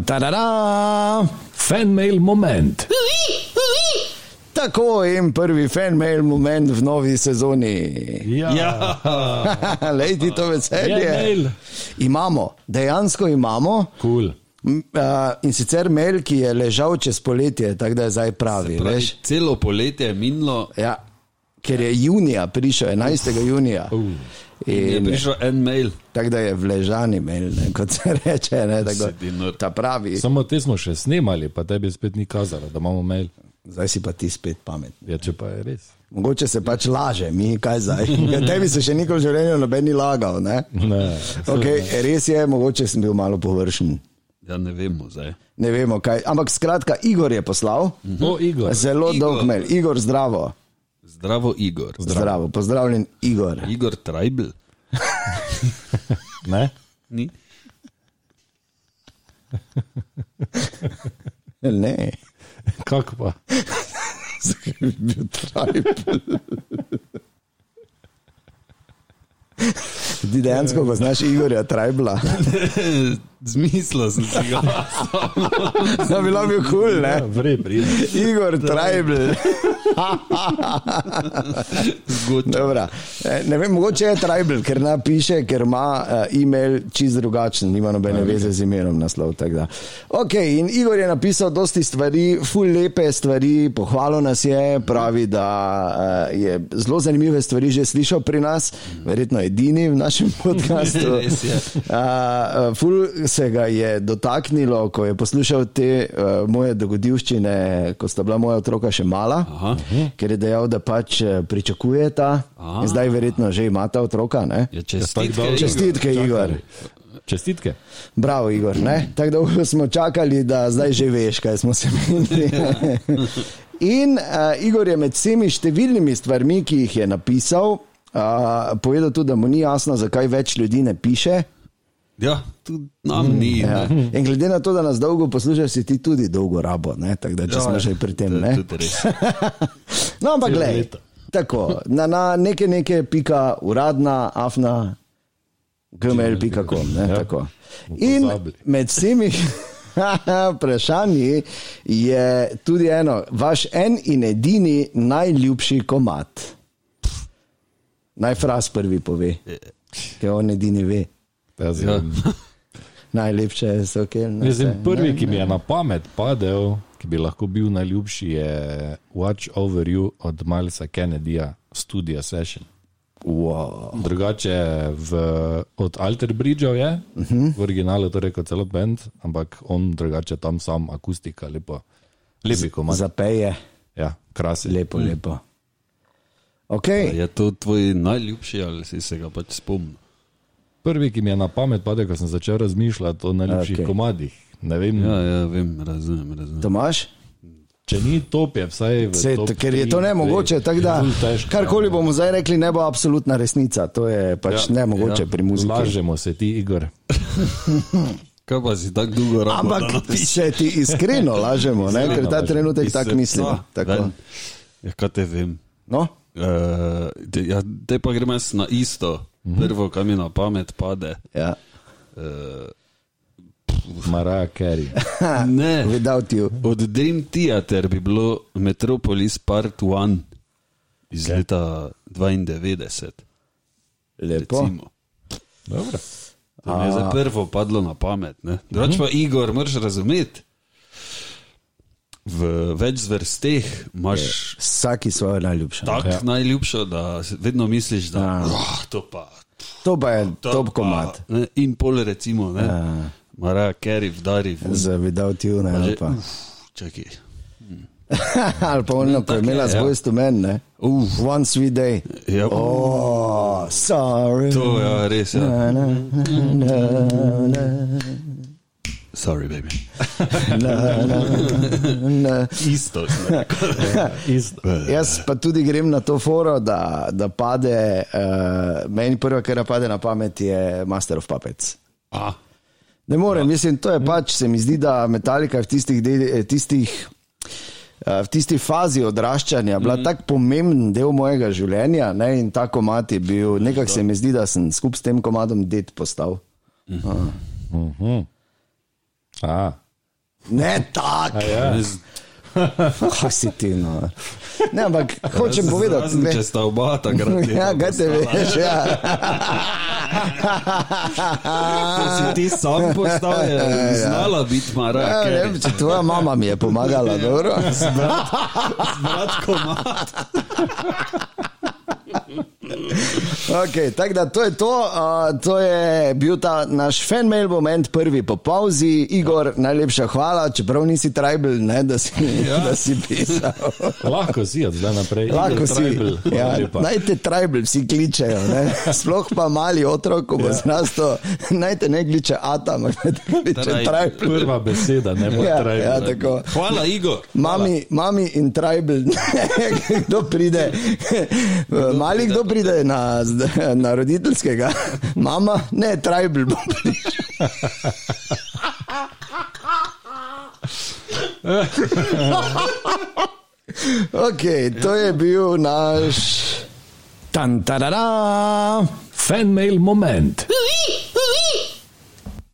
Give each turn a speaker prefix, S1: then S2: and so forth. S1: Tantarara!
S2: Fanmail moment.
S1: Tako in prvi fanmail moment v novi sezoni.
S2: Ja,
S3: Ja.
S1: Lej ti to
S2: Je mail.
S1: veselje. Imamo, dejansko imamo.
S2: kul. Cool.
S1: m, a, In sicer mail, ki je ležal čez poletje, tako da je zdaj pravi.
S3: Pravi,
S1: Pravi.
S3: Celo poletje je minilo.
S1: Ja, ker je junija prišel, 11. junija.
S3: In je
S1: In,
S3: prišel en mail.
S1: tako da je vležani mail, ne, kot se reče. Ne, tako,
S3: Sedi nor.
S1: ta pravi,
S2: Samo te smo še snemali, pa tebi spet ni kazalo, da imamo mail.
S1: zdaj si pa ti spet pametni.
S2: Ja, če pa je res.
S1: Mogoče se pač laže, mi kaj zdaj. Tebi se še nikoli v življenju noben ni lagal. Ne?
S2: Ne.
S1: Okay, res je, mogoče sem bil malo površen.
S3: Ja, ne vemo zdaj.
S1: Ne vemo kaj. Ampak skratka, Igor je poslal.
S2: No, Igor.
S1: Zelo
S3: Igor.
S1: dolg mail. Igor, zdravo.
S3: Zdravo, Igor.
S1: zdravo. Pozdravljen, Igor.
S3: Igor Tribal.
S2: Ne?
S3: Ni.
S1: Ne,
S2: Kako pa?
S1: zakaj bi bil trajbel? Ti dejansko poznaš Igorja Trajbla.
S3: Zmislil sem si ga.
S1: Da bi bilo bil kul, cool, ne?
S2: Vre, pride.
S1: Igor Trajbl.
S3: Zgodaj.
S1: Dobra. Eh, Ne vem, mogoče je Tribal, ker napiše, ker ima uh, e-mail čist drugačen, nima nobene veze z imenom naslov. tako da. Ok, in Igor je napisal dosti stvari, ful lepe stvari, pohvalo nas je, pravi, da uh, je zelo zanimive stvari že slišal pri nas, verjetno edini v našem podkastu.
S3: Res je.
S1: Uh, ful se ga je dotaknilo, ko je poslušal te uh, moje dogodivščine, ko sta bila moja otroka še mala,
S3: Aha.
S1: ker je dejal, da pač eh, pričakujeta,
S3: Aha.
S1: in zdaj verjetno že imata otroka. Ne?
S3: Ja,
S2: tako
S3: čestitke.
S2: dobro.
S3: Igor.
S1: Čestitke, Igor.
S2: Čestitke.
S1: Bravo, Igor. ne? Tako dolgo smo čakali, da zdaj že veš, kaj smo se menili. In uh, Igor je med vsemi številnimi stvarmi, ki jih je napisal, uh, povedal tudi, da mu ni jasno, zakaj več ljudi ne piše.
S3: Ja, tudi nam ni.
S1: Ja.
S3: Ja.
S1: In glede na to, da nas dolgo poslušaš, si ti tudi dolgo rabo, ne? tako
S3: Ja,
S1: da če smo že pri tem. Ne? No, ampak gledaj.
S2: leto.
S1: Tako, na, na neke neke pika uradna, afna, gmail.com. ne,
S2: Ja.
S1: tako. In
S2: pozabili.
S1: med vsemi vprašanji je tudi eno, vaš en in edini najljubši komat. Naj fras prvi pove, ki on edini ve.
S2: Ja, znam.
S1: Najlepše so, ki ne
S2: Mislim, prvi, ki mi je na pamet padel, ki bi lahko bil najljubši, je Watch Over You od Milesa Kennedyja, Studio Session.
S1: Wow.
S2: Drugače v, od Alter Bridgeov je, uh
S1: Mhm.
S2: -huh. v originalu torej kot celo bend, ampak on drugače tam sam, akustika, lepo. Lepi komad.
S1: Zapeje,
S2: Ja, krasen.
S1: lepo, lepo.
S2: Ja.
S1: Okay.
S3: Je to tvoj najljubši ali si se ga pač spomnil?
S2: Prvi, ki mi je na pamet padel, ko sem začel razmišljati o najljubših
S1: Okej.
S2: okay. komadih. Ne vem,
S3: Ja,
S2: ja.
S3: ja, vem, razumem. razumem.
S1: Tomaš?
S2: če ni top, je vsaj v
S1: Sej,
S2: top
S1: ker je to
S2: tri,
S1: nemogoče.
S2: dve.
S1: tako
S2: Je
S1: Da,
S2: ful težko,
S1: karkoli
S2: ja.
S1: bomo zdaj rekli, ne bo absolutna resnica. To je pač ja,
S2: Ja,
S1: nemogoče ja,
S3: ja.
S1: pri muziki.
S2: Lažemo se ti, Igor.
S3: Kaj pa si tako dolgo rabo?
S1: Ampak če ti iskreno lažemo, ne, ker ta
S2: lažemo.
S1: trenutek tako
S3: No,
S1: mislim. Tako.
S3: Ja, kaj te vem.
S1: No?
S3: Uh, te, ja, te pa gremo jaz na isto, mm -hmm. prvo, kar mi na pamet pade.
S1: Ja.
S3: Uh,
S2: Maraja Kerry.
S3: ne,
S1: Without you.
S3: od Dream Theater bi bilo Metropolis Part 1 iz okay. leta 92.
S1: Lepo.
S3: Recimo.
S2: Dobro.
S3: To mi je za prvo padlo na pamet. ne. Drugač pa Igor, moraš razumeti. V več zvrsteh imaš
S1: Vsaki svojo najljubšo.
S3: tako ja. najljubšo, da se- vedno misliš, da
S1: Ja.
S3: je oh, to pa.
S1: To pa je
S3: to
S1: top
S3: pa,"
S1: komat.
S3: ne, In pol recimo, ne.
S1: Ja.
S3: Maraja Kerry vdari v
S1: Za without you, ne. ali
S3: že.
S1: pa-
S3: Uf, čakaj.
S1: Ali pa ono, ko je imela
S3: je, ja.
S1: zvoj stumen, ne.
S3: Uf,
S1: One sweet day.
S3: ja,
S1: Oh, sorry.
S3: to je ja, res. Ja.
S1: Na, na, na,
S3: Sorry, baby.
S1: na, na, na.
S3: Isto. ne.
S2: Isto.
S3: Ja.
S1: Jaz pa tudi grem na to foro, da, da pade, uh, meni prva, kar pade na pamet, je Master of Puppets.
S3: A,
S1: Ne morem, mislim, to je pač, se mi zdi, da Metallica je v tistih, del, tistih, eh, v tisti fazi odraščanja bila mm. tako pomemben del mojega življenja ne, in ta komad je bil, nekako se mi zdi, da sem skupaj s tem komadom ded postal.
S2: Mhm. A,
S1: Ne tak,
S2: ja.
S1: kaj si ti. No. Ne, ampak hočem povedati,
S3: Razen,
S1: ne.
S3: če sta oba takrat.
S1: Ja, kaj te veš? Ja.
S3: Si ti sam postal, je znala biti
S1: Ja, ne
S3: marak.
S1: vem, če tvoja mama mi je pomagala, dobro.
S3: Bratko, ma.
S1: Okay, tako da to je to, uh, to je bil ta naš fanmail moment, prvi po pauzi. Igor, najlepša hvala, čeprav nisi tribal, ne, da, si, ja. da si pisal.
S2: Lahko si od zdaj naprej.
S1: Lahko
S2: Igor
S1: si.
S2: Trajbl,
S1: Ja,
S2: hvala lepa.
S1: naj te tribal vsi kličejo, ne. sploh pa mali otrok, ko bo ja. zrastel, naj te ne kliče Ata, ampak naj te kliče
S3: Tribal.
S1: tribal.
S2: Prva beseda, ne bo
S1: Ja,
S2: Trajbl.
S1: ja, tako.
S3: Hvala, Igor.
S1: Mami, mami in tribal, kdo pride, mali kdo pride na, z- na roditeljskega, mama, ne, tribal bo prišel. Ok, to je bil naš. Tan, tarara.
S2: Fanmail moment.